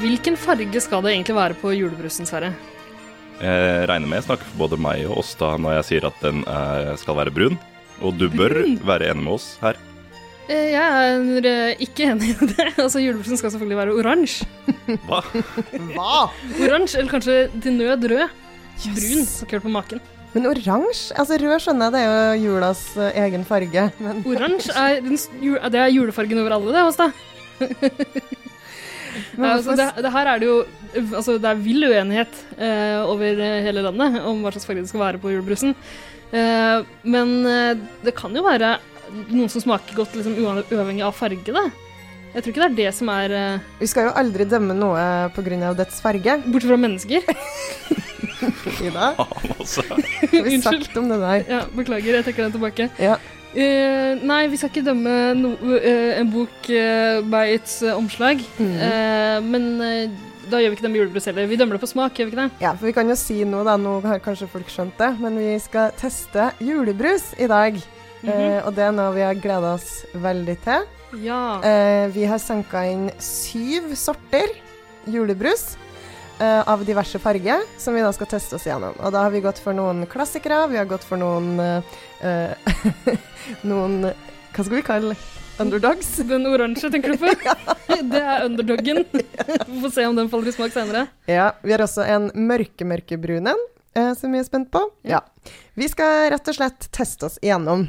Hvilken farge skal det egentlig være på julebrusen, Sverre? Jeg Eh, regner med jeg snakker for både meg og Åsta når jeg sier at den eh, skal være brun. Og du bør være enig med oss her. Eh, Jeg er eh, ikke enig i det. Altså, Julebrusen skal selvfølgelig være oransje. Hva? Hva? Oransje, eller kanskje til nød rød. Brun. Har ikke hørt på maken. Men oransje? Altså Rød skjønner jeg, det er jo julas eh, egen farge. Men Oransje er, den, s- ju- det er julefargen over alle, det, Åsta. Men altså, hvorfor- det, det her er det jo altså, Det er vill uenighet eh, over eh, hele landet om hva slags farge det skal være på julebrusen. Eh, men eh, det kan jo være noen som smaker godt liksom, uan- uavhengig av farge, da. Jeg tror ikke det er det som er eh, vi skal jo aldri dømme noe pga. dets farge. Bortsett fra mennesker. Ida, Faen, altså. har vi Unnskyld. sagt om det der? Ja, beklager, jeg trekker den tilbake. Ja. Eh, nei, vi skal ikke dømme no, eh, en bok eh, by its eh, omslag. Mhm. Eh, men eh, da gjør vi ikke det med julebrus heller. Vi dømmer det på smak, gjør vi ikke det? Ja, for vi kan jo si noe, da. Nå har kanskje folk skjønt det, men vi skal teste julebrus i dag. Mhm. eh, og det er noe vi har gleda oss veldig til. Ja. Eh, vi har senka inn syv sorter julebrus eh, av diverse farger, som vi da skal teste oss gjennom. Og da har vi gått for noen klassikere, vi har gått for noen eh, Noen Hva skal vi kalle underdogs? Den oransje, tenker du på? Det er underdoggen. Vi får se om den faller i smak senere. Ja, vi har også en mørke-mørkebrun en, eh, som vi er spent på. Ja. Vi skal rett og slett teste oss igjennom.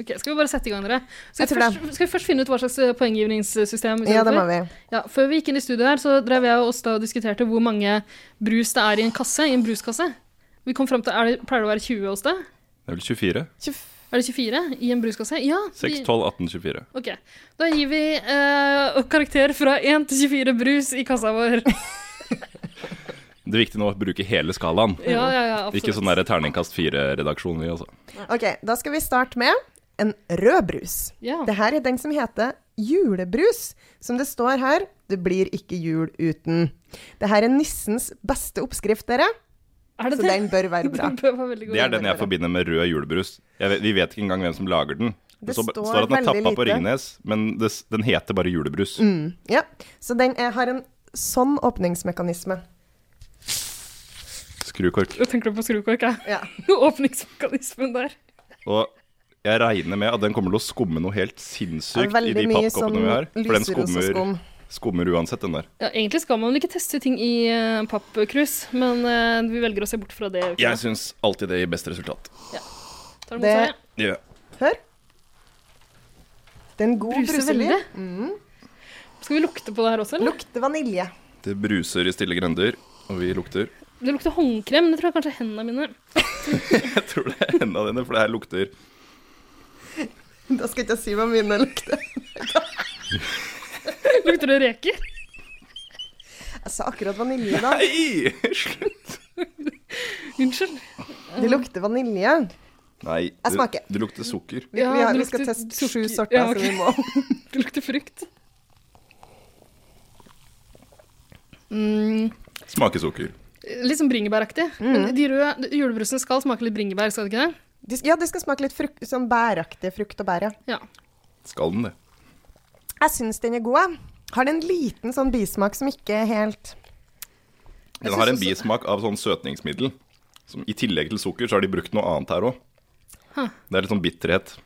Ok, Skal vi bare sette i gang, dere? Skal Jeg vi, tror det. først, skal vi først finne ut hva slags eh, poenggivningssystem vi Ja, det skal må ha? vi. Ja, før vi gikk inn i studio her, så drev jeg og Åsta og diskuterte hvor mange brus det er i en kasse. I en bruskasse. Vi kom frem til, er det, Pleier det å være 20, Åsta? Det er vel 24? Er det 24 i en bruskasse? Ja. 6, vi- 12, 18, 24. Ok. Da gir vi eh, karakter fra 1 til 24 brus i kassa vår. Det viktige nå er å bruke hele skalaen. Ja, ja, ja, absolutt. Ikke sånn der terningkast fire-redaksjon, vi, altså. Ok, da skal vi starte med en rød brus. Ja. Det her er den som heter julebrus. Som det står her, det blir ikke jul uten. Det her er nissens beste oppskrift, dere. Er det Så det? den bør være bra. Den bør være veldig god. Det er den jeg forbinder med rød julebrus. Jeg vet, vi vet ikke engang hvem som lager den. Det så- står står at den er veldig tappa på lite. Ringnes, men det, s- den heter bare julebrus. Mm, ja. Så den er, har en sånn åpningsmekanisme. Skrukork. Da tenker du på skrukork, ja. Ja. Åpningsmekanismen der. Og jeg regner med at den kommer til å skumme noe helt sinnssykt i de Veldig mye pappkoppene vi har. sånn For den lyserose skummer, skum. skummer uansett, den der. Ja, egentlig skal man vel ikke teste ting i eh, pappkrus, men eh, vi velger å se bort fra det. gjør vi ikke Jeg syns alltid det gir best resultat. det? Tar du det- mot seg? Ja. Hør. Det Mm. er en god Bruser bruselyd. veldig. Skal vi lukte på det her også, eller? Lukter vanilje. Det bruser i stille grender, og vi lukter. Det lukter håndkrem, men det tror jeg kanskje hendene mine. Jeg tror det er hendene dine, for det her lukter Da skal ikke jeg si hva mine lukter. Lukter det reker? Jeg sa akkurat vanilje, da. Nei! Slutt. Unnskyld. Det lukter vanilje. Nei. Jeg det- smaker. Det lukter sukker. Vi, Ja, vi, har, det vi skal lukter teste sju sukker. sorter, Ja, ok. så vi må Det lukter frukt. Mm, Smaker sukker. litt sånn bringebæraktig. Men de røde julebrusene skal smake litt bringebær, skal det ikke det? De, ja, det skal smake litt fruk sånn bæraktig frukt og bær, ja. Ja. Skal den det? Jeg syns den er god, jeg. Har den en liten sånn bismak som ikke er helt Den Jeg har en synes også- bismak av sånn søtningsmiddel. Som I tillegg til sukker så har de brukt noe annet her òg. Huh. Det er litt sånn bitterhet.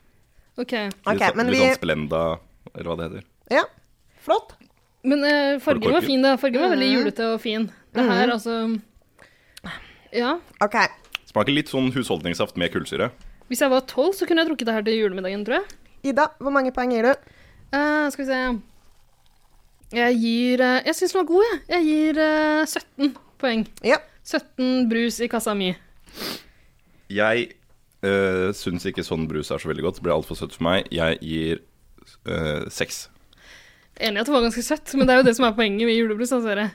Ok. Ok, litt, sånn- men litt vi- sånn Splenda, eller hva det heter. Ja, flott. Men eh, fargen var korken? fin, da. Fargen var veldig julete og fin. Det her, altså Ja. OK. Smaker litt sånn husholdningssaft med kullsyre. Hvis jeg var tolv, så kunne jeg drukket det her til julemiddagen, tror jeg. Ida, hvor mange poeng gir du? Eh, skal vi se Jeg gir eh, Jeg syns den var god, jeg. Jeg gir eh, 17 poeng. Ja. 17 brus i kassa mi. Jeg øh, syns ikke sånn brus er så veldig godt. Det blir altfor søtt for meg. Jeg gir øh, seks. Enig i at det var ganske søtt, men det er jo det som er poenget med julebrus. da, dere.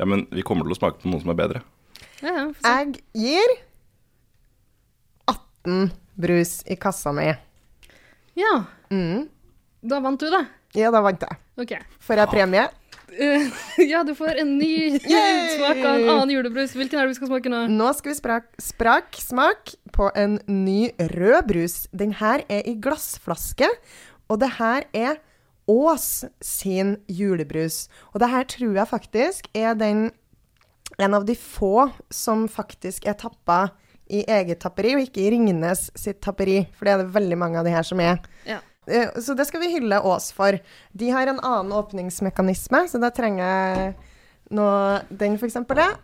Ja, men vi kommer til å smake på noe som er bedre. Ja, ja, for så- Jeg gir 18 brus i kassa mi. Mm. ja. Da vant du, da. Ja, da vant jeg. OK. Får jeg premie? Eh, ja, du får en ny Yay! smak av en annen julebrus. Hvilken er det vi skal smake nå? Nå skal vi sprak, sprak smak på en ny rød brus. Den her er i glassflaske, og det her er Aas sin julebrus. Og det her tror jeg faktisk er den en av de få som faktisk er tappa i eget tapperi, og ikke i Ringnes sitt tapperi. For det er det veldig mange av de her som er. Ja. Eh, Så det skal vi hylle Ås for. De har en annen åpningsmekanisme, så da trenger jeg nå den, for eksempel. Ja.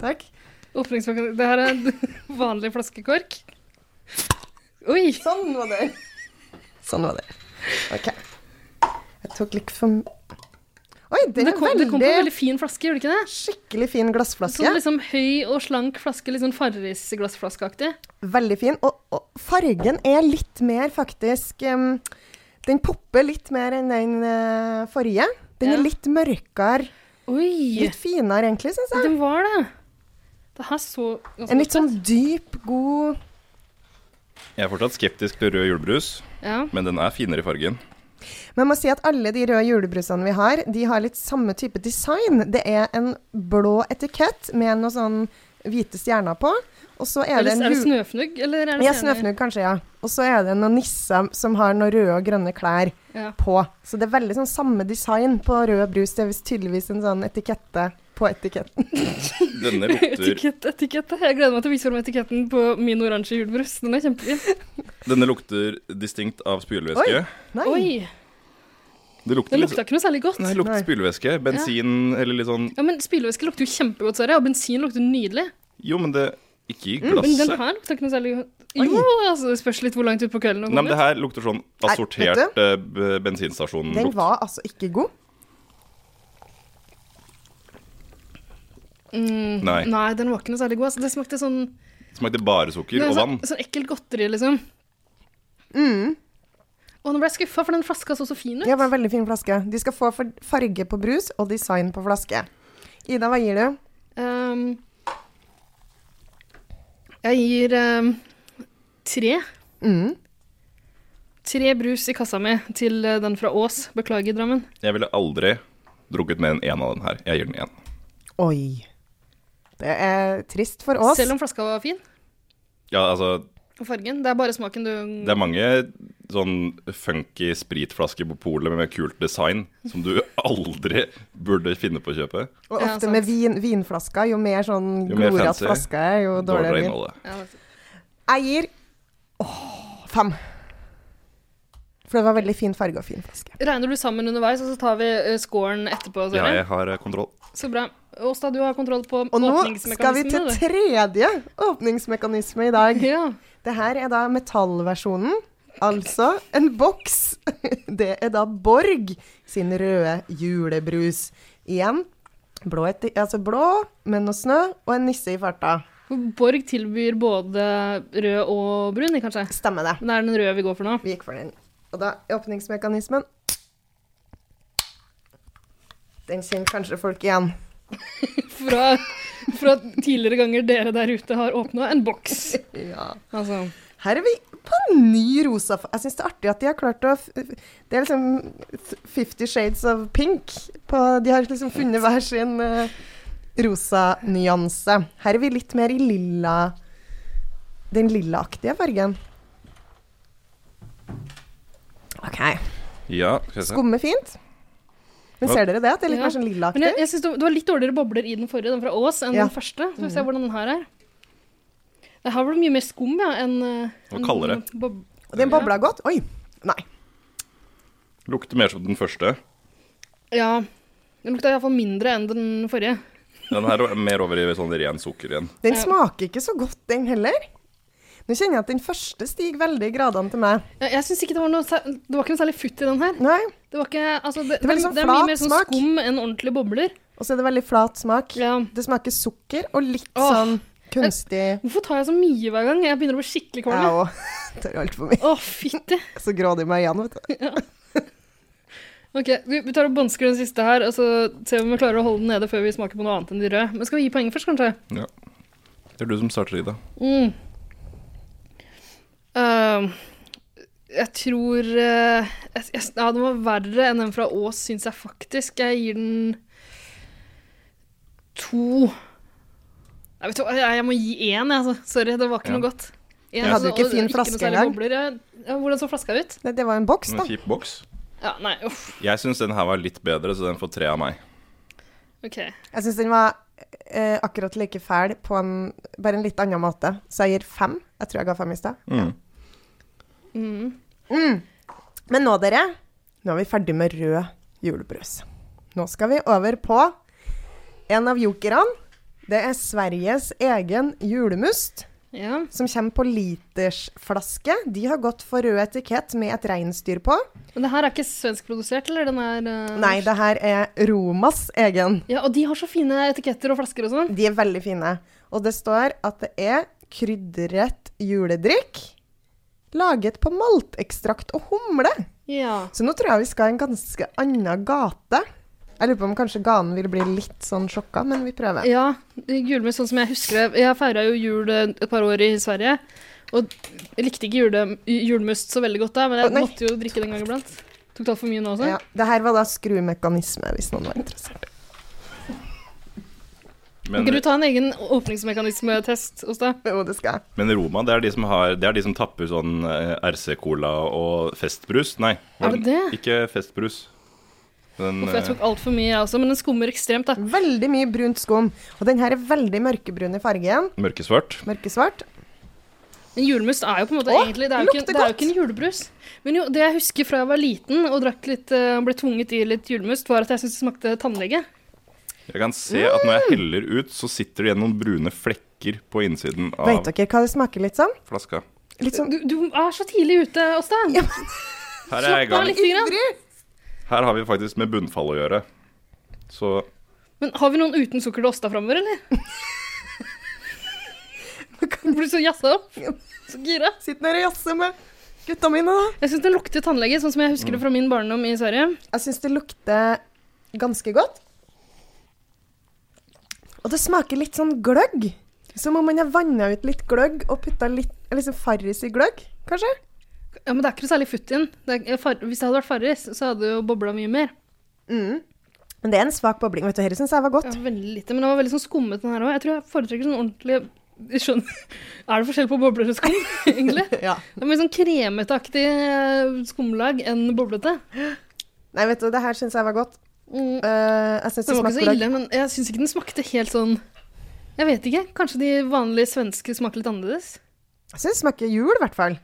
Takk. Åpningsmekanisme Det her er en vanlig flaskekork. Oi! Sånn var det. Sånn var det. OK. Jeg tok litt for m- Oi, den Det er kom, det kom på en veldig veldig fin flaske, gjorde det ikke det? skikkelig fin glassflaske. Sånn liksom høy og slank flaske, litt sånn Farris-glassflaskeaktig. Veldig fin. Og, og fargen er litt mer faktisk em, Den popper litt mer enn den eh, forrige. Den Ja. er litt mørkere. Oi! Litt finere, egentlig, syns jeg. Den var det. Det her så ganske En litt godt sånn dyp, god Jeg er fortsatt skeptisk til rød julebrus, sånn- ut. Ja. men den er finere i fargen. Men jeg må si at alle de røde julebrusene vi har, de har litt samme type design. Det er en blå etikett med noe sånn hvite stjerner på. Og så er Er det, det en er det jul- snøfnugg, eller er det Ja, senere? snøfnugg kanskje, ja. Og så er det noen nisser som har noen røde og grønne klær Ja. på. Så det er veldig sånn samme design på rød brus. Det er visst tydeligvis en sånn etikette på etiketten. Denne lukter, Etikett, etikett. Jeg gleder meg til å vise fram etiketten på min oransje julebrus. Den er kjempefin. denne lukter distinkt av spylevæske. Nei. Oi! Det lukter, Den litt, lukta ikke noe særlig godt. nei, det lukter Nei. spylevæske. Bensin eller litt sånn Ja, men Spylevæske lukter jo kjempegodt, Sverre, og bensin lukter nydelig. Jo, men det Ikke i Men den glasset. her lukter ikke noe særlig godt. Oi. Jo, altså, det spørs litt hvor langt ut på kvelden Nei, hun men det kommer. her lukter sånn Nei, vet assortert eh, b- bensinstasjonlukt. Den var altså ikke god. Mm, Nei. nei, den var ikke noe særlig god. Altså, det smakte sånn, Smakte bare sukker det er og sånn, vann. sånn ekkelt godteri, liksom. Mm. Og nå ble jeg skuffa, for den flaska så så fin ut. Det var en veldig fin flaske. De skal få for- farge på brus og design på flaske. Ida, hva gir du? Ehm, jeg gir ehm, tre. Mm. Tre brus i kassa mi til eh, den fra Ås. Beklager, Drammen. Jeg ville aldri drukket mer enn én av den her. Jeg gir den én. Oi. Det er trist for oss. Selv om flaska var fin. Ja, altså, Og fargen. Det er bare smaken du det er mange sånn funky spritflasker på polet med kult design som du aldri burde finne på å kjøpe. Og Ja, ofte sant. med vin, vinflasker. Jo mer sånn Jo mer glorete fancy, flaske er, jo dårligere Dårligere vin. innholdet. ja, det- Jeg gir åh, fem. For det var veldig fin farge og fin flaske. Regner du sammen underveis, og så tar vi eh, scoren etterpå? Ja, Sverre? jeg har eh, kontroll. Så bra. Åsta, du har kontroll på Og nå skal vi til åpningsmekanismene. du. tredje åpningsmekanisme i dag. Ja. Det her er da metallversjonen. Altså en boks. Det er da Borg sin røde julebrus. Igjen blå, etter, altså blå med noe snø og en nisse i farta. For Borg tilbyr både rød og brun, kanskje? Stemmer det. Men det er den røde vi går for nå. Vi gikk for den. Og da er åpningsmekanismen Den kjenner kanskje folk igjen. Fra, fra tidligere ganger dere der ute har åpna en boks. Ja. Altså, Her er vi på en ny rosa fa- Jeg syns det er artig at de har klart å f- Det er liksom Fifty Shades of Pink. På, de har liksom funnet hver sin eh, rosa nyanse. Her er vi litt mer i lilla Den lillaaktige fargen. OK. Ja, skal vi se. Skummer fint. Men ser dere det? At det er litt Ja. mer sånn men lillaaktig? jeg, jeg synes du, du har litt dårligere bobler i den forrige, den fra Ås, enn Ja. Mm. den første. Så får vi se hvordan den her er. Det her var det mye mer skum, ja, enn Og kaldere. Bob Og Den bobla godt. Oi. Nei. Lukter mer som den første. Ja. Den lukta iallfall mindre enn den forrige. Den her er mer over i sånn ren sukker igjen. Den Ja. smaker ikke så godt, den heller. Nå kjenner jeg at den første stiger veldig i gradene til meg. Jeg, jeg syns ikke det var noe sær- Det var ikke noe særlig futt i den her. Nei. Det var ikke Altså, det, Det det, var litt sånn det er mye flat mer sånn smak. skum enn ordentlige bobler. Og så er det veldig flat smak. Ja. Det smaker sukker og litt Åh. sånn kunstig Hvorfor tar jeg så mye hver gang? Jeg begynner å bli skikkelig Jeg kvalm. jeg. òg. Tar altfor mye. Å, fytti. Så grådig meg igjen, vet du. Ok, vi, vi tar og bansker den siste her, og så ser vi om vi klarer å holde den nede før vi smaker på noe annet enn de røde. Men skal vi gi poeng først, kanskje? Ja. Det er du som starter, Ida. Mm. Ehm, jeg tror eh, jeg, jeg, Ja, den var verre enn den fra Ås, syns jeg faktisk. Jeg gir den to Nei, vet du hva, jeg, jeg må gi én, jeg, altså. Sorry, det var ikke Ja. noe godt. En, hadde jo altså, ikke og fin noe flaske særlig engang. bobler. Ja, ja, hvordan så flaska ut? Nei, det var en boks, En da. kjip boks. Ja, nei, uff. Jeg syns den her var litt bedre, så den får tre av meg. OK. Jeg syns den var eh, akkurat like fæl på en bare en litt annen måte, så jeg gir fem. Jeg tror jeg ga fem i stad. Mm. Mm. Mm. Men nå, dere, nå er vi ferdig med rød julebrus. Nå skal vi over på en av jokerne. Det er Sveriges egen julemust, Ja. som kommer på litersflaske. De har gått for rød etikett med et reinsdyr på. Men det her er ikke svenskprodusert, eller? Den er eh, Nei, det her er Romas egen. Ja, og de har så fine etiketter og flasker og sånn. De er veldig fine. Og det står at det er krydret juledrikk laget på maltekstrakt og humle. Ja. Så nå tror jeg vi skal i en ganske annen gate. Jeg lurer på om kanskje ganen vil bli litt sånn sjokka, men vi prøver. ja. Julemus, sånn som jeg husker det Jeg feira jo jul eh, et par år i Sverige. Og jeg likte ikke jule, julemust så veldig godt da, men Å, jeg nei. måtte jo drikke den gang iblant. Tok det altfor mye nå også? Ja, det her var da skrumekanisme, hvis noen var interessert. Kan Men, ikke du ta en egen åpningsmekanismetest hos deg? Jo, det skal jeg. men Roma, det er, de som har, det er de som tapper sånn eh, RC-cola og festbrus. Nei, Er det det? ikke festbrus. Den, For jeg tok altfor mye, jeg også, men den skummer ekstremt, da. Veldig mye brunt skum. Og den her er veldig mørkebrun i fargen. eh, mørkesvart. Mørkesvart. Men julemust er jo på en måte Åh, egentlig Det er jo ikke, lukter det er jo godt. ikke en julebrus. Men jo, det jeg husker fra jeg var liten og drakk litt, eh, ble tvunget i litt julemust, var at jeg syntes det smakte tannlege. Jeg kan se at Mm. når jeg heller ut, så sitter det igjen noen brune flekker på innsiden av Vet dere hva det smaker litt som? flaska. Litt sånn Du, du er så tidlig ute, Åstein. Ja, Her er jeg i gang. Litt grann. ivrig! Her har vi faktisk med bunnfall å gjøre. Så Men har vi noen uten sukker til Åsta framover, eller? Du blir så jazza opp. Så gira. Sitt ned og jazze med gutta mine, da. Jeg syns den lukter tannlege, sånn som jeg husker det fra min barndom i Sverige. Jeg syns det lukter ganske godt. Og det smaker litt sånn gløgg. Som om man har vanna ut litt gløgg og putta litt liksom Farris i gløgg, kanskje? Ja, Men det er ikke noe særlig futt i den. Det er- eh, far- Hvis det hadde vært Farris, så hadde det jo bobla mye mer. Mm. Men det er en svak bobling. Vet du, Dette syns jeg var Ja, godt. veldig lite, men den var veldig sånn skummet, den her òg. Jeg tror jeg foretrekker sånn ordentlig jeg skjønner. Er det forskjell på bobler og skum, egentlig? Ja. Det er Mer sånn kremetaktig eh, skumlag enn boblete. Nei, vet du, det her syns jeg var godt. Mm. Eh, jeg syns det Den var ikke så smaker gløgg. ille, men jeg syns ikke den smakte helt sånn Jeg vet ikke. Kanskje de vanlige svenske smaker litt annerledes? Jeg syns det smaker jul, i hvert fall.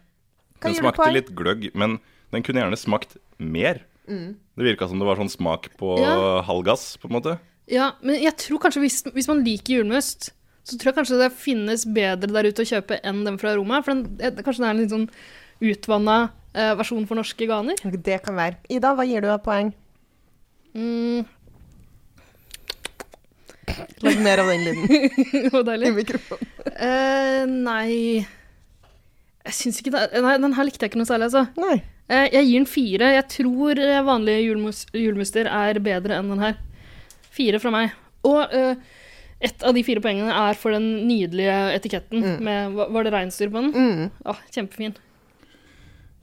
Hva den gir du på smakte her? litt gløgg, men den kunne gjerne smakt mer. Mm. Det virka som det var sånn smak på Ja. halv gass, på en måte. Ja, men jeg tror kanskje hvis, hvis man liker julmust, så tror jeg kanskje det finnes bedre der ute å kjøpe enn den fra Roma. For den, eh, kanskje det er en litt sånn utvanna eh, versjon for norske ganer. Mm. Det kan være. Ida, hva gir du av poeng? Mm, Lag mer av den lyden det var deilig. mikrofonen. Eh, nei Jeg syns ikke det Nei, den her likte jeg ikke noe særlig, altså. Nei. Eh, jeg gir den fire. Jeg tror eh, vanlige julmus julmuster er bedre enn den her. Fire fra meg. Og eh, ett av de fire poengene er for den nydelige etiketten Mm. med hva- Var det reinsdyr på den? Mm. Ja, kjempefin.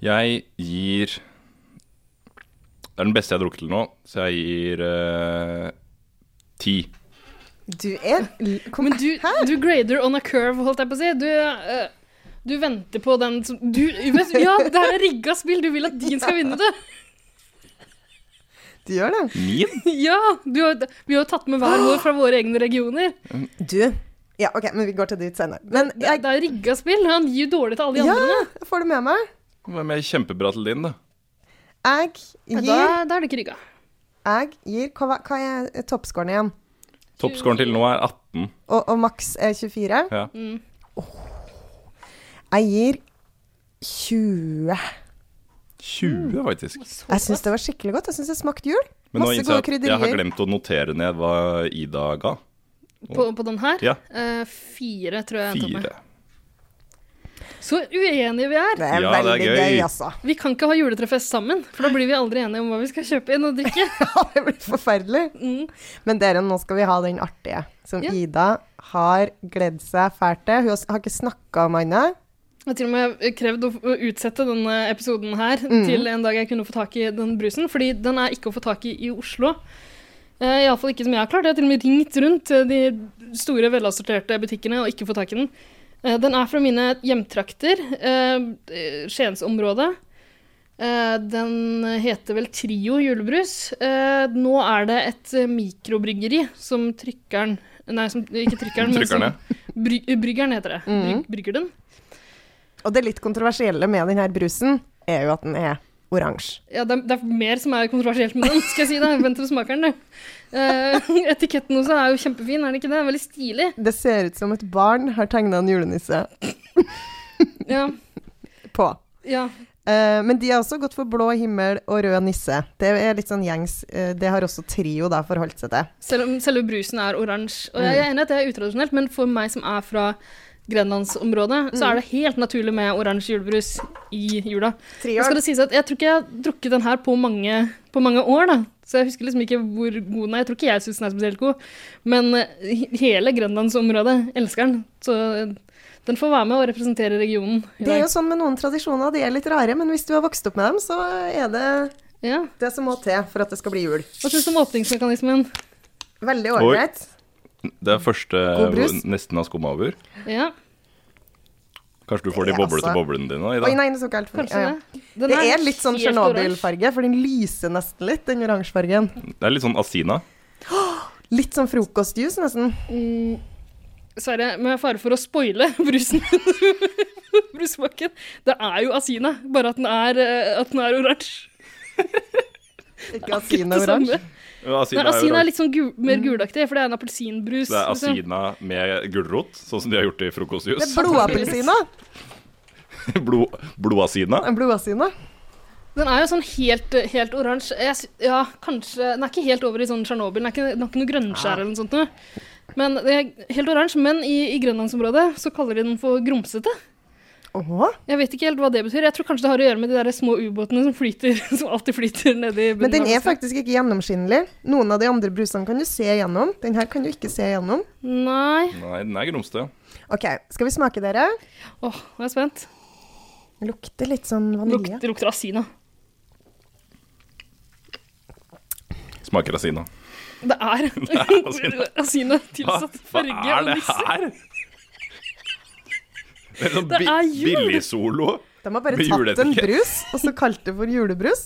Jeg gir Det er den beste jeg har drukket til nå, så jeg gir eh, ti. Du er l- kom, Men du, du grader on a curve, holdt jeg på å si. Du, eh, du venter på den som du, vet, Ja, det her er rigga spill! Du vil at din skal vinne, du! Du gjør det. Min? Ja! Du har, vi har jo tatt med hver vår fra våre egne regioner. Du Ja, OK, men vi går til dit senere. Men Det, jeg, det er rigga spill. Han gir jo dårlig til alle de Ja. andre. jeg får det med meg. Hva med kjempebra til din, da? Jeg Ja, gir da, da er det ikke rigga. Jeg gir Hva, hva er toppscoren igjen? Toppscoren til nå er 18. Og, og maks er 24. Ja. Jeg gir 20. 20, faktisk. Jeg syns det var skikkelig godt. Jeg syns det smakte jul. Men nå Masse innser jeg gode at jeg har krydderier. glemt å notere ned hva Ida ga. På, på den her? Ja. Eh, fire, tror jeg. jeg tar med. Fire. Så uenige vi er! Det Ja, er det er veldig gøy. gøy. altså. Vi kan ikke ha juletrefest sammen, for da blir vi aldri enige om hva vi skal kjøpe inn og drikke. Ja, det blir forferdelig. Mm. Men dere, nå skal vi ha den artige, som Ja. Ida har gledd seg fælt til. Hun har s- har ikke snakka om annet. Jeg har til og med krevd å å utsette denne episoden her til en dag jeg kunne få tak i den brusen, fordi den er ikke å få tak i i Oslo. Eh, Iallfall ikke som jeg har klart. Jeg har til og med ringt rundt til de store, velassorterte butikkene og ikke fått tak i den. Eh, Den er fra mine hjemtrakter, eh, Skiensområdet. Eh, Den heter vel Trio julebrus. Eh, Nå er det et eh, mikrobryggeri som trykkeren Nei, som, ikke trykkeren, men som Trykkerne. bry, Bryggeren heter det. Bryg, brygger den. Og det litt kontroversielle med denne brusen er jo at den er oransje. Ja, det, er, det er mer som er kontroversielt med den, skal jeg si. da. Vent til du smaker den, du. Eh, etiketten også er jo kjempefin, er den ikke det? Veldig stilig. Det ser ut som et barn har tegna en julenisse Ja, på. ja. Eh, men de har også gått for blå himmel og rød nisse. Det er litt sånn gjengs. eh, det har også Trio da forholdt seg til. Selv om selve brusen er oransje. Og jeg er enig i at det er utradisjonelt, men for meg som er fra grenlandsområdet, så er det helt naturlig med oransje julebrus i jula. Nå skal det sies at Jeg tror ikke jeg har drukket den her på mange, på mange år, da. Så jeg husker liksom ikke hvor god den er. Jeg tror ikke jeg syns den er spesielt god, men eh, he- hele grenlandsområdet elsker den. Så eh, den får være med og representere regionen. i Det er dag. jo sånn med noen tradisjoner, de er litt rare, men hvis du har vokst opp med dem, så er det ja. det som må til for at det skal bli jul. Hva syns du om åpningsmekanismen? Veldig ålreit. Det er første God brus. hvor nesten har skumma over. Ja, Kanskje du får de Det er boblete altså- boblene dine i Oi, dag. nei, det så ikke helt for kanskje ja, ja. det. Den Det er litt sånn helt oransje. Tsjernobyl-farge, for den lyser nesten litt, den oransjefargen. Det er litt sånn Asina. Litt sånn frokostjuice, nesten. Mm, Sverre, med fare for å spoile brusen Brussmaken. Det er jo Asina, bare at den er, eh, at den er oransje. Ikke Det asina samme. oransje. Ja, Nei, Asina er Asina oransje. er litt sånn gu mer gulaktig, for det er en appelsinbrus. Det er liksom. asina med gulrot, sånn som de har gjort i frokostjus. Det er blodappelsina. Blod, blodasina. En Blodasina. Den er jo sånn helt, helt oransje. Jeg sy- Ja, kanskje Den er ikke helt over i sånn Tsjernobyl. Den er ikke, den har ikke noe Ah. grønnskjær eller noe sånt noe. Men det er helt oransje. Men i, i grønlandsområdet så kaller de den for grumsete. Åh. Jeg vet ikke helt hva det betyr. Jeg tror kanskje det har å gjøre med de der små ubåtene som flyter, som alltid flyter nedi bunnen Men den av er Alaska. faktisk ikke gjennomskinnelig. Noen av de andre brusene kan du se gjennom. Den her kan du ikke se gjennom. Nei. Nei, den er grumsete. OK, skal vi smake, dere? Åh, nå er jeg spent. Lukter litt sånn Lukt, vanilje. det lukter asina. Smaker asina. Det er, er asina. asina tilsatt farge og hva er det nisse. her?! Det er sånn Det bi er jul. billigsolo. De har bare Med tatt en juleetikett. brus og så kalt det for julebrus.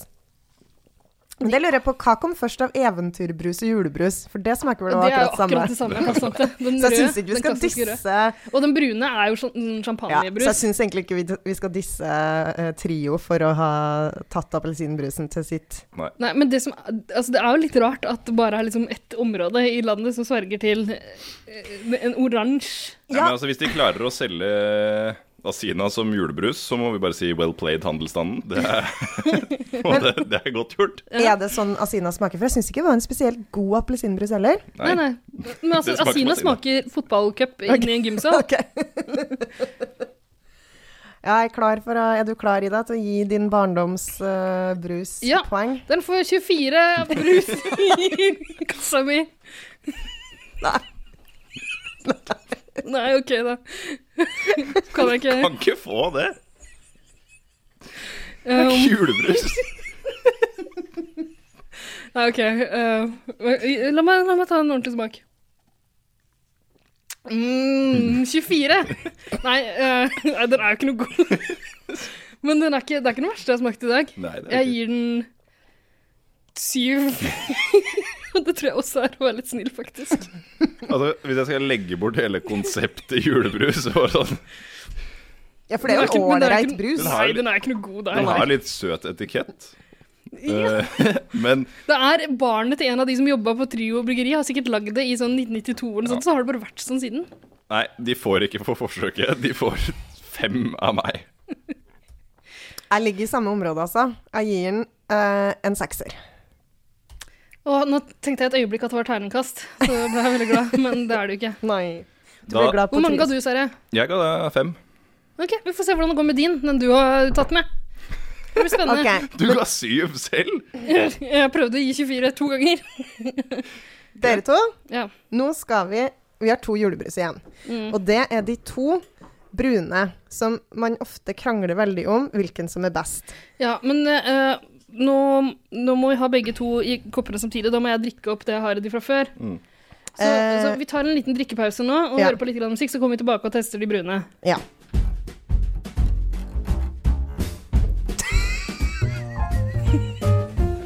Men det lurer jeg på, Hva kom først av eventyrbrus og julebrus? For det smaker vel Det er jo akkurat samme. akkurat det samme. ikke sant? Den Så jeg røde, syns ikke vi den skal klassiske røde. disse Og den brune er jo sånn sånn ja, Så jeg champagnebrus. syns egentlig ikke vi, vi skal disse eh, Trio for å ha tatt appelsinbrusen til sitt Nei, men det, som, altså det er jo litt rart at det bare er liksom ett område i landet som sverger til eh, en oransje Ja. men altså, hvis de klarer å selge eh, asina som julebrus, så må vi bare si well played, handelsstanden. Det er, og det, det er godt gjort. Er det sånn Asina smaker? For jeg syns ikke det var en spesielt god appelsinbrus heller. Nei, nei. Men altså, Det smaker Asina som smaker fotballcup inni en gymsal. Ok. Ja, jeg er, klar for å, er du klar, Ida, til å gi din eh, barndomsbrus Ja. poeng? Den får 24 brus i kassa mi. Nei. Nei, OK, da. Kan jeg ikke Kan ikke få det! um, Julebrus! Nei, OK. eh, la, meg, la meg ta en ordentlig smak. Mm, 24! Nei, eh, nei, den er jo ikke noe god. Men den er ikke, det er ikke den verste jeg har smakt i dag. Nei, det er Jeg ikke. gir den syv. Og det tror jeg også er å være litt snill, faktisk. Altså, hvis jeg skal legge bort hele konseptet julebrus, så var det sånn Ja, for det Den er er jo ikke- men en det er ålreit ikke- brus. Den har- Nei, den er ikke noe god der. Den har litt søt etikett. Ja. Eh, men Det er barnet til en av de som jobba på Trio bryggeri, har sikkert lagd det i sånn 1992 eller noe sånt, så har det bare vært sånn siden. nei, de får ikke for forsøket. De får fem av meg. Jeg ligger i samme område, altså. Jeg gir den eh, en sekser. Og nå tenkte jeg et øyeblikk at det var terningkast, så ble jeg veldig glad, men det er det jo ikke. Nei. Du Da- ble glad på Hvor mange ga trio. du, Sverre? Jeg ga deg fem. Ok, vi får se hvordan det går med din, den du har tatt med. Det blir spennende. Ok, Du ga syv selv! Jeg prøvde å gi 24 to ganger. dere to. Ja. Nå skal vi Vi har to julebrus igjen. Mm. Og det er de to brune som man ofte krangler veldig om hvilken som er best. ja, men eh, nå, nå må vi ha begge to i koppene samtidig, da må jeg drikke opp det jeg har i de fra før. Mm. Så, Eh. så vi tar en liten drikkepause nå og Ja. hører på litt grann musikk, så kommer vi tilbake og tester de brune. Ja.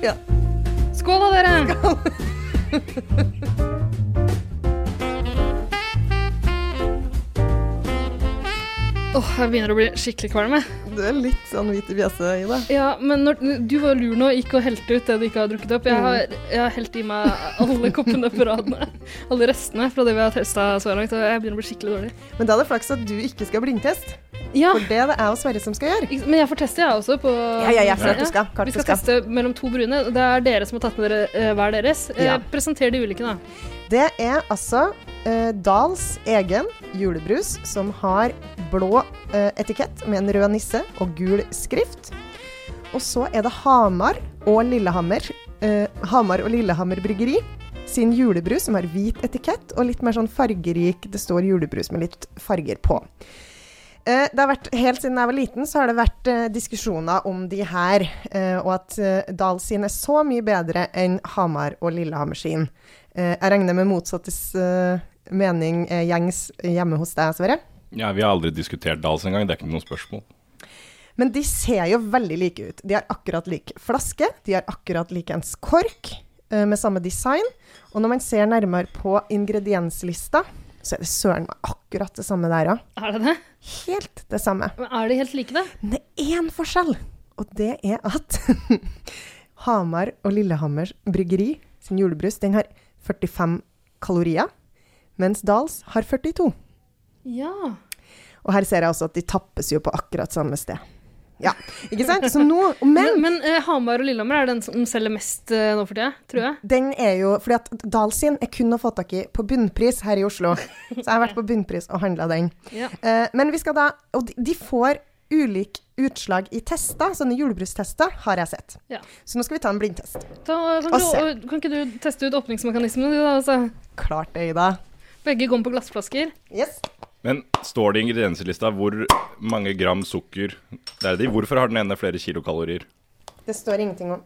Ja. Skål da, dere! Åh, jeg begynner å bli skikkelig kvalm. jeg. Du er litt sånn hvit i fjeset, Ida. Ja, men når, du var lur nå og gikk og helte ut det du ikke har drukket opp. Jeg har, Mm. jeg har helt i meg alle koppene på radene. Alle restene fra det vi har testa så langt. Og jeg begynner å bli skikkelig dårlig. Men da er det flaks at du ikke skal blindtest, Ja, for det er det jeg og Sverre som skal gjøre. ikke- men jeg får teste, jeg også. På, Ja, ja, ja, klart du skal. Klart Vi du skal skal. teste mellom to brune. Det er dere som har tatt med dere eh, hver deres. Eh, Ja. Presenter de ulike, da. Det er altså eh, Dals egen julebrus som har blå eh, etikett med en rød nisse og gul skrift. Og så er det Hamar og Lillehammer, eh, Hamar og Lillehammer bryggeri sin julebrus som har hvit etikett og litt mer sånn fargerik. Det står julebrus med litt farger på. Eh, Det har vært, Helt siden jeg var liten, så har det vært eh, diskusjoner om de her, eh, og at eh, Dahl sin er så mye bedre enn Hamar og Lillehammer sin. Eh, jeg regner med motsattes eh, mening er gjengs eh, hjemme hos deg, Sverre. Ja, vi har aldri diskutert Dals engang, det er ikke noe spørsmål. Men de ser jo veldig like ut. De har akkurat lik flaske, de har akkurat likeens kork eh, med samme design. Og når man ser nærmere på ingredienslista, så er det søren meg akkurat det samme der òg. Er det det? Helt det samme. Men er de helt like, da? Men det er én forskjell, og det er at Hamar og Lillehammers bryggeri sin julebrus den har 45 kalorier, mens Dals har 42. Ja. Og her ser jeg også at de tappes jo på akkurat samme sted. Ja, ikke sant? Så nå, men Men, men eh, Hamar og Lillehammer er den som selger mest eh, nå for tida, tror jeg. den er jo Fordi at Dals sin er kun å få tak i på bunnpris her i Oslo. Så jeg har vært på bunnpris og handla den. Ja. Eh, men vi skal da Og de, de får ulik utslag i tester. Sånne julebrustester har jeg sett. Ja. Så nå skal vi ta en blindtest. Da, kan, Og ikke se. du, og kan ikke du teste ut åpningsmekanismene, du, da? Altså, Klart det, Ida. begge går på glassflasker. Yes. Men står det i ingredienselista hvor mange gram sukker det er i? Hvorfor har den ene flere kilokalorier? Det står ingenting om.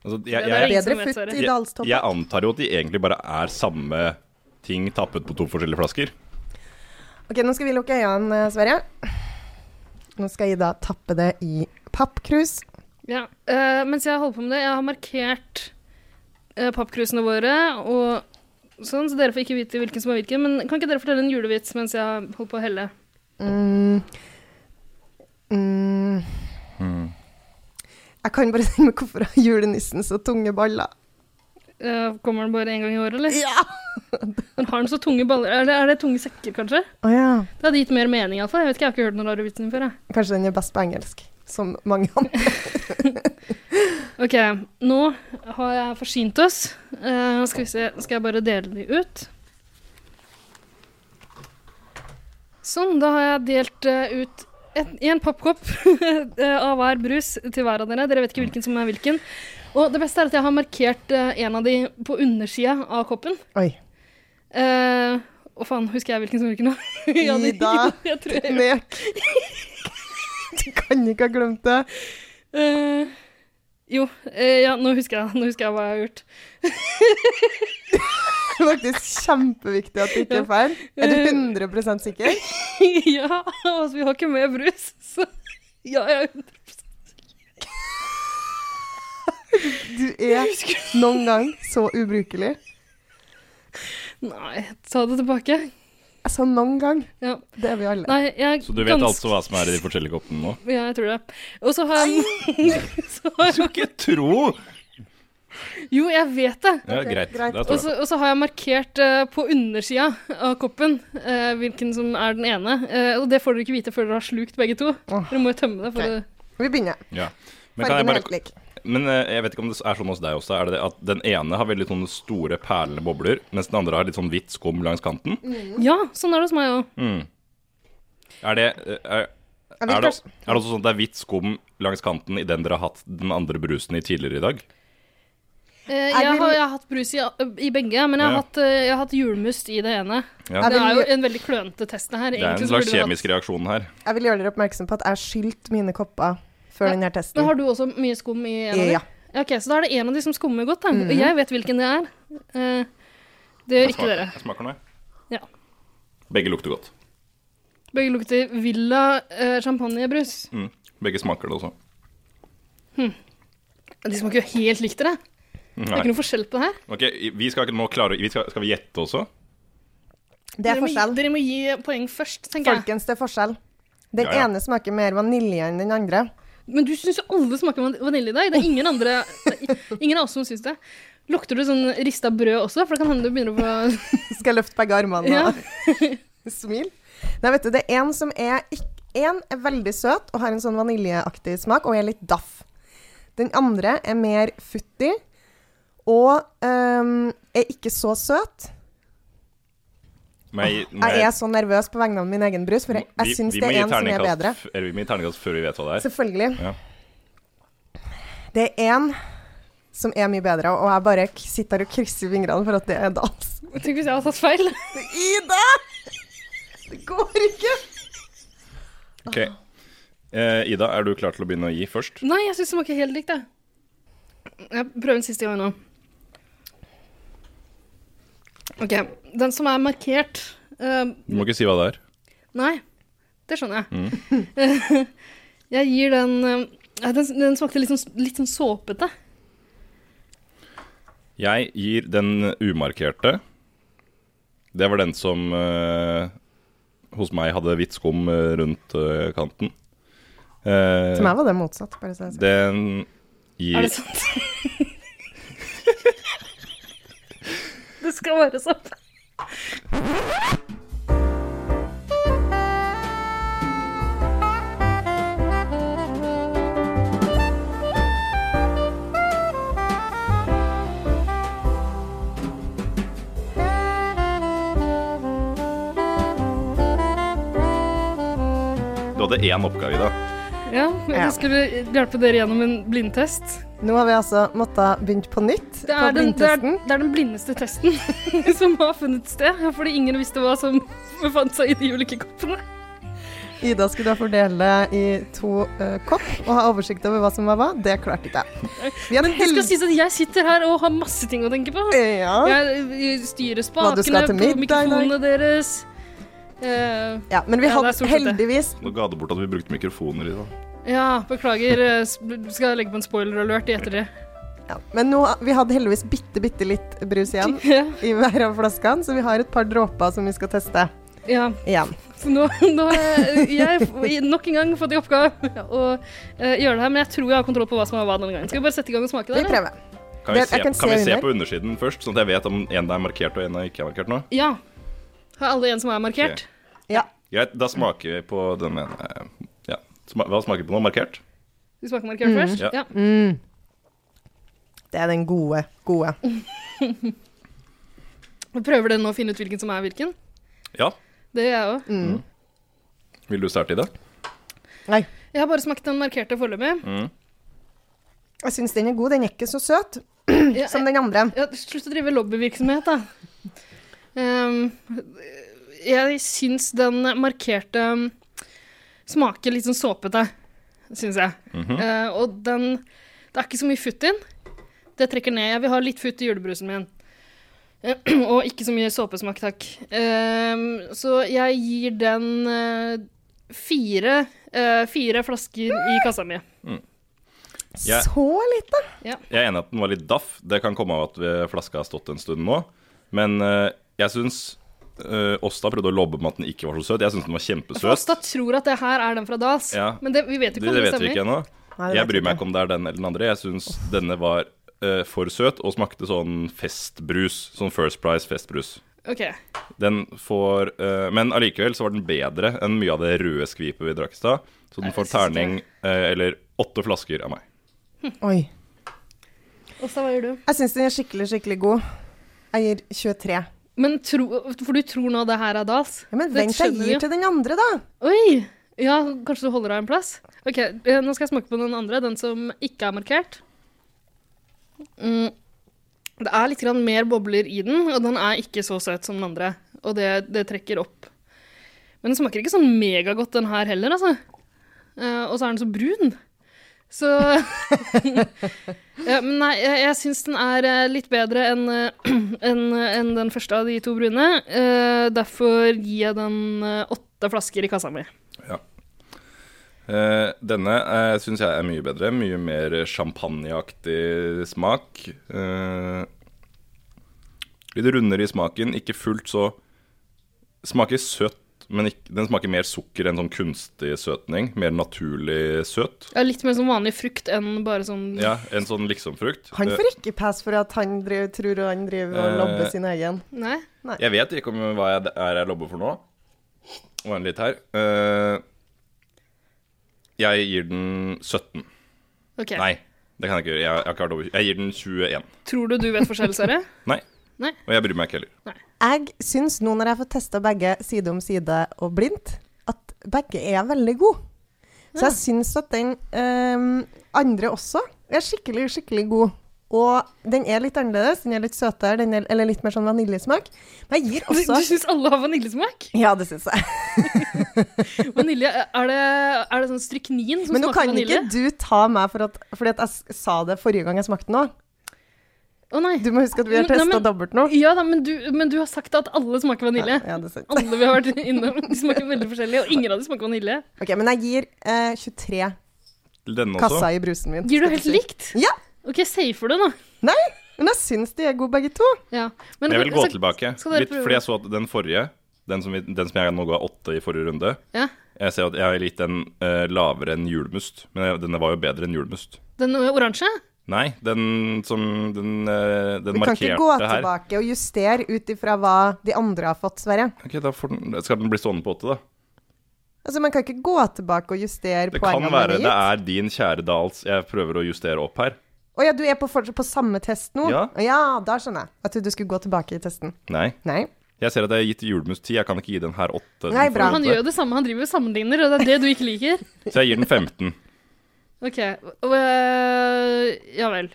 Altså, jeg, Det er jeg, ingen Bedre som vet, futt Sverre. i jeg, Dalstoppen. jeg antar jo at de egentlig bare er samme ting tappet på to forskjellige flasker. Ok, nå skal vi lukke øynene, eh, Sverre. Nå skal Ida tappe det i pappkrus. Ja. Eh, mens jeg holder på med det, jeg har markert uh, pappkrusene våre og sånn, så dere får ikke vite hvilken som er hvilken. Men kan ikke dere fortelle en julevits mens jeg holder på å helle? Mm. Mm. Jeg kan bare si meg hvorfor har julenissen så tunge baller. Eh, kommer den bare én gang i året, eller? Ja! Men har den så tunge baller? Er det, er det tunge sekker, kanskje? Å ja. Det hadde gitt mer mening, iallfall. Jeg vet ikke, jeg har ikke hørt noen rare vitsen før, jeg. Kanskje den er best på engelsk, som mange andre. Ok, nå har jeg forsynt oss. Eh, skal vi se, skal jeg bare dele de ut? Sånn, da har jeg delt eh, ut et, en pappkopp eh, av hver brus til hver av dere. Dere vet ikke hvilken som er hvilken. Og det beste er at jeg har markert eh, en av de på undersida av koppen. Oi. Eh, Å faen, husker jeg hvilken som er hvilken nå? Ja, det- Ida, jeg tror jeg- Nek. Du kan ikke ha glemt det. Eh, jo, eh, ja, nå husker jeg, nå husker jeg hva jeg har gjort. Det er faktisk kjempeviktig at det ikke er feil. Er du 100 sikker? ja, altså vi har ikke med brus, så ja, jeg Du er noen gang så ubrukelig. Nei, ta det tilbake. Jeg sa noen gang. Ja. Det er vi alle. Nei, jeg Så du vet ganske- altså hva som er i de forskjellige koppene nå? Ja, jeg tror det. Og så har jeg så har jeg- Ikke tro! Jo, jeg vet det. Ja, Ok, greit. greit. Da Og tror jeg. så og så har jeg markert eh, på undersida av koppen eh, hvilken som er den ene. Eh, og det får dere ikke vite før dere har slukt begge to. Åh. Dere må jo tømme det. For Nei. det. Vi begynner. Ja. Men, kan jeg Fargen er bare, helt lik. men eh, jeg vet ikke om det er sånn hos deg også. Er det det at den ene har veldig sånne store perlende bobler, mens den andre har litt sånn hvitt skum langs kanten? Ja, sånn er det hos meg òg. Mm. Er det eh, er, Jeg er vil det, kanskje- er det også sånn at det er hvitt skum langs kanten i den dere har hatt den andre brusen i tidligere i dag? Eh, jeg, det- har, jeg har hatt brus i, i begge, men jeg har, Ja. hatt, eh, jeg har hatt julmust i det ene. Ja. Er Det det er jo mye- en veldig klønete test, det her. Det er Egentlig en så slags burde vi hatt- kjemisk reaksjon her. Jeg vil gjøre dere oppmerksom på at jeg skylte mine kopper før Ja, denne Men testen. har du også mye skum i en av de? Ja. Mhm. Ja, Ok, så da er det en av de som skummer godt, da. Og Jeg vet hvilken det er. Eh, det gjør Jeg ikke smaker, dere. jeg smaker noe. Ja. Begge lukter godt. Begge lukter villa eh, champagnebrus. Mm. Begge smaker det også. De smaker jo helt likt dere. Det er Mm, Nei. ikke noe forskjell på det her. Ok, vi skal ikke nå klare vi skal, skal vi gjette også? Det er dere, må, forskjell. dere må gi poeng først, tenker jeg. Folkens, det er forskjell. Den Ja, ja. ene smaker mer vanilje enn den andre. Men du syns jo alle smaker van- vanilje i dag. Det er ingen andre det er i- Ingen av oss som syns det. Lukter du sånn rista brød også? For det kan hende du begynner å få Skal jeg løfte begge armene Ja. og smil? Nei, vet du, det er en som er ikk- En er veldig søt og har en sånn vaniljeaktig smak, og er litt daff. Den andre er mer futtig og øhm, er ikke så søt. Må jeg- må Ah, Jeg jeg- er så nervøs på vegne av min egen brus, for jeg, Vi- jeg syns vi det må er gi en som er terningkast bedre. f- Eller vi må gi terningkast før vi vet hva det er. Selvfølgelig. Ja. Det er en som er mye bedre, og jeg bare k- sitter her og krysser fingrene for at det er dans. Tenk hvis jeg har tatt feil. Ida! Det går ikke! Ok. Eh, Ida, er du klar til å begynne å gi først? Nei, jeg syns det smaker helt likt, jeg. Jeg prøver en siste gang nå. OK. Den som er markert eh, Du må ikke si hva det er. Nei, det skjønner jeg. jeg gir den eh, den, den smakte litt sånn, litt sånn såpete. Jeg gir den umarkerte. Det var den som eh, hos meg hadde hvitt skum eh, rundt eh, kanten. Eh, Til meg var det motsatt. bare så jeg sier. Den gir Er det sant? det skal være sånn. Du hadde én oppgave, Ida. Ja, men Ja. jeg skulle hjelpe dere gjennom en blindtest. Nå har vi altså måttet begynne på nytt Det på er, den, det, er, blindtesten. det er den blindeste testen som har funnet sted, fordi ingen visste hva som befant seg i de ulike koppene. Ida skulle da fordele i to eh, kopp og ha oversikt over hva som var hva. Det klarte ikke jeg. Vi er Men det skal held- sies at jeg sitter her og har masse ting å tenke på. ja. Jeg styrer Hva du spakene skal til på middag i dag. mikrofonene deres. Eh, ja, men vi Ja, det hadde er stort sett det. heldigvis Nå ga det bort at vi brukte mikrofoner, Ida. ja, beklager. eh, sp- Skal jeg legge på en spoiler alert i etter det? ja, Men nå, vi hadde heldigvis bitte, bitte litt brus igjen Ja, i hver av flaskene, så vi har et par dråper som vi skal teste ja. igjen. Så nå, nå har jeg jeg nok en gang fått i oppgave å eh, gjøre det her, men jeg tror jeg har kontroll på hva som er hva denne gangen. Skal vi bare sette i gang og smake Vi der? da? prøver. Kan vi, Det- se, jeg kan kan se vi se under. på undersiden først, sånn at jeg vet om en er markert og en er ikke markert nå? Ja. Har alle en som er markert? Ja. Greit, da smaker vi på den ene. Ja. Sma hva smaker vi på nå? Markert? Du smaker markert først? Ja. Ja. Mm. Det er den gode, gode. Mm. Og Prøver dere nå å finne ut hvilken som er hvilken? Ja. Det gjør jeg òg. Vil du starte, Ida? Mm. Nei. Jeg har bare smakt den markerte foreløpig. Jeg syns den er god. Den er ikke så søt Ja, som den andre. ja, slutt å drive lobbyvirksomhet, da. Ehm, jeg syns den markerte um, smaker litt sånn såpete, syns jeg. Mhm. Eh, og den Det er ikke så mye futt inn. Det trekker ned. Jeg vil ha litt futt i julebrusen min. Eh, og ikke så mye såpesmak, takk. Ehm, så jeg gir den eh, fire, eh, fire flasker i kassa mi. Ja. Så lite. Jeg er enig at den var litt daff. Det kan komme av at eh, flaska har stått en stund nå. Men eh, jeg syns eh, Åsta prøvde å lobbe med at den ikke var så søt. Jeg syns den var For Åsta kjempesøt. tror at det her er den fra Dals, Ja. men det, vi vet jo Det, ikke om det det vet vi ikke stemmer. ennå. Nei, det Jeg vet bryr meg ikke om det er den eller den andre. Jeg syns denne var eh, for søt og smakte sånn festbrus. Sånn First Price festbrus. Ok. Den får eh, Men allikevel så var den bedre enn mye av det røde skvipet vi drakk i stad. Så den Nei, får jeg synes ikke terning eh, eller åtte flasker av meg. Oi. Åsta, hva gjør du? Jeg syns den er skikkelig, skikkelig god. Jeg gir 23. Men tro, for du tror nå det her er Dals? Ja, men Det vent, jeg skjønner vi jo. gir til den andre, da. Oi! Ja, kanskje du holder deg en plass? Ok, eh, nå skal jeg smake på den andre, den som ikke er markert. Mm. Det er litt grann mer bobler i den, og den er ikke så søt som den andre. Og det, det trekker opp. Men den smaker ikke sånn megagodt, den her heller, altså. Eh, og så er den så brun. Så ja, Men nei, jeg, jeg syns den er eh, litt bedre enn eh, enn- enn den første av de to brune. Eh, derfor gir jeg den eh, åtte flasker i kassa mi. Eh, denne eh, syns jeg er mye bedre. Mye mer champagneaktig smak. Eh, litt rundere i smaken. Ikke fullt så Smaker søtt, men ikk- den smaker mer sukker enn sånn kunstig søtning. Mer naturlig søt. Ja, litt mer som vanlig frukt enn bare sånn Ja, En sånn liksomfrukt. Han Eh, får ikke pass for at han driver, tror han driver og Eh. lobber sin egen. Nei. Jeg vet ikke om hva jeg det er jeg lobber for nå. Og en litt her. Eh, jeg gir den 17. OK. Nei, det kan jeg ikke gjøre. Jeg, jeg, har ikke vært over- jeg gir den 21. Tror du du vet forskjell, Sverre? Nei. Nei. Og jeg bryr meg ikke heller. Jeg syns nå når jeg får testa begge side om side og blindt, at begge er veldig gode. Så jeg syns at den ehm, andre også er skikkelig, skikkelig god. Og den er litt annerledes. Den er litt søtere, den er, eller litt mer sånn vaniljesmak. Men jeg gir Du, også du syns alle har vaniljesmak? Ja, det syns jeg. Vanilje, er det, er det sånn stryknin som Men nå smaker kan vanilje? ikke du ta meg for at Fordi at jeg s- sa det forrige gang jeg smakte den òg. Å nei. Du må huske at vi har Men- nei, testa men- dobbelt nå. Ja da, men du, men du har sagt at alle smaker vanilje. Ja, det er sant. Alle vi har vært innom, de smaker veldig forskjellig, og ingen av dem smaker vanilje. Ok, Men jeg gir eh, 23 Denne også. kasser i brusen min. Gir du skal helt si. likt? Ja. OK, safer du, da. Nei, men jeg syns de er gode begge to. Ja. Men jeg vil gå så- tilbake. skal dere Litt prøve? fordi jeg så at den forrige, den som, vi, den som jeg nå ga åtte i forrige runde Ja. Jeg ser at jeg har gitt den eh, lavere enn julmust, men jeg- denne var jo bedre enn julmust. Den eh, oransje? Nei, den som Den, eh, den Vi kan markerte ikke gå her tilbake og justere ut ifra hva de andre har fått, Sverre. Ok, da får den, Skal den bli stående på åtte, da? Altså, Man kan ikke gå tilbake og justere Det kan poengene man være har det gitt. er din kjære Dahls jeg prøver å justere opp her. Å ja, du er på, fortsatt på samme test nå? Ja. da skjønner jeg. Jeg trodde du skulle gå tilbake i testen. Nei. Nei. Jeg ser at jeg har gitt julmust ti, jeg kan ikke gi den her åtte. den Nei, bra. får Han åtte. gjør jo det samme, han driver og sammenligner, og det er det du ikke liker. Så jeg gir den 15. OK. øh, ja vel.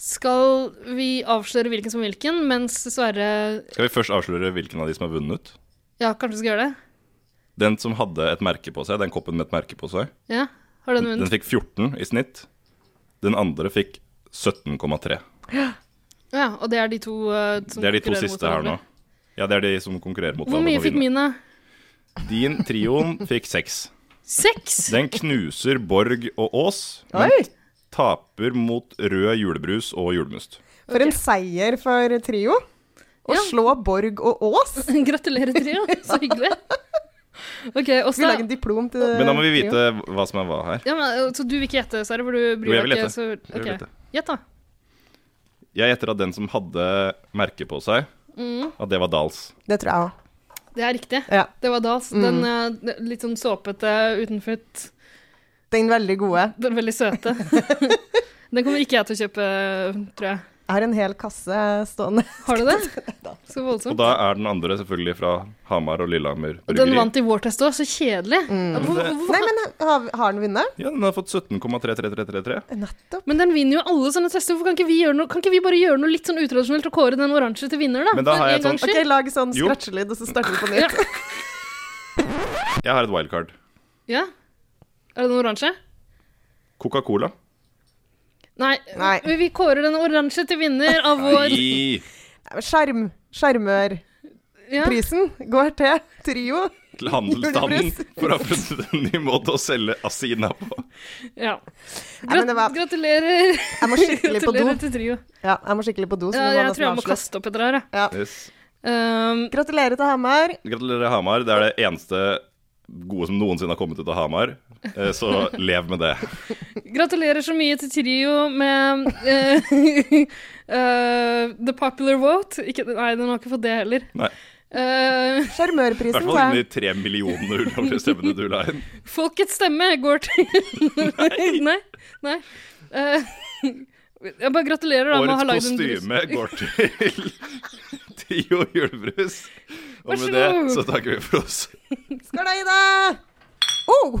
Skal vi avsløre hvilken som er hvilken, mens Sverre Skal vi først avsløre hvilken av de som har vunnet? Ja, kanskje vi skal gjøre det? Den som hadde et merke på seg, den koppen med et merke på seg, Ja? Har den den vunnet? fikk 14 i snitt. Den andre fikk 17,3. Ja, og det er de to øh, som Det er de to konkurrerer mot siste her nå. hverandre. Ja, det er de som konkurrerer mot Hvor mye på fikk vinner. min, da? Din trioen fikk 6. Seks? Den knuser Borg og Ås, men Oi! taper mot rød julebrus og julemust. For en seier for trio. Å Ja. slå Borg og Ås. Gratulerer, Trio. Så hyggelig. OK, Skal vi lage Åsta. en diplom til Men da må vi trio? vite hva som er hva her. Ja, men, øh, så du vil ikke gjette, Sverre? For du Jo, jeg bryr vil deg gjette. ikke? Så, Jeg vil ok. gjette. Gjett, da. Jeg gjetter at den som hadde merke på seg, Mm. at det var Dahls. Det tror jeg òg. Det er riktig. Ja. Det var Dahls. Mm. Den eh, litt sånn såpete utenfrutt. Den veldig gode. Den veldig søte. den kommer ikke jeg til å kjøpe, tror jeg. Jeg har en hel kasse stående. Har du det? Så Og voldsomt. da er den andre selvfølgelig fra Hamar og Lillehammer Og den bryggeri. vant i vår test òg, så kjedelig. Mm. Hvor, hvor, hvor, Nei, men har, har den vunnet? Ja, den har fått 17,3333. Nettopp. men den vinner jo alle sånne tester. Hvorfor kan ikke vi, gjøre noe, kan ikke vi bare gjøre noe litt sånn utradisjonelt og kåre den oransje til vinner, da? Men da For har jeg en et gangs sånt- OK, skyld. lag sånn Jo. scratchelyd, og så starter vi på nytt. Jeg har et wildcard. Ja. Er det den oransje? Coca-Cola. Nei, Nei. Vi, vi kårer den oransje til vinner av vår Nei. Nei, men Skjerm, skjermørprisen ja. går til trio. Til handelsstanden for å ha funnet en ny måte å selge Asina på. Ja. Nei, men det var- Gratulerer. Jeg må skikkelig på do. Gratulerer til trio. Ja, jeg må skikkelig på do, så Ja, vi jeg må tror nesten jeg må avslutte. kaste opp etter her, jeg. Ja. Yes. Um, Gratulerer til Hamar. Gratulerer, Hamar. Det er det eneste gode som noensinne har kommet ut av Hamar. Eh, Så lev med det. gratulerer så mye til Trio med eh, eh, The Popular Vote. Ikke, nei, den har ikke fått det heller. Nei. Eh, I hvert Sjarmørprisen, fall sa inni jeg. tre millionene ulovlige stemmene du la inn. folkets stemme går til Nei. nei. Eh, jeg bare gratulerer da, med å ha lagd Årets en brus. kostyme går til Tio julebrus. Og Vær så med det god. så takker vi for oss. Skål da, Ida! Oh!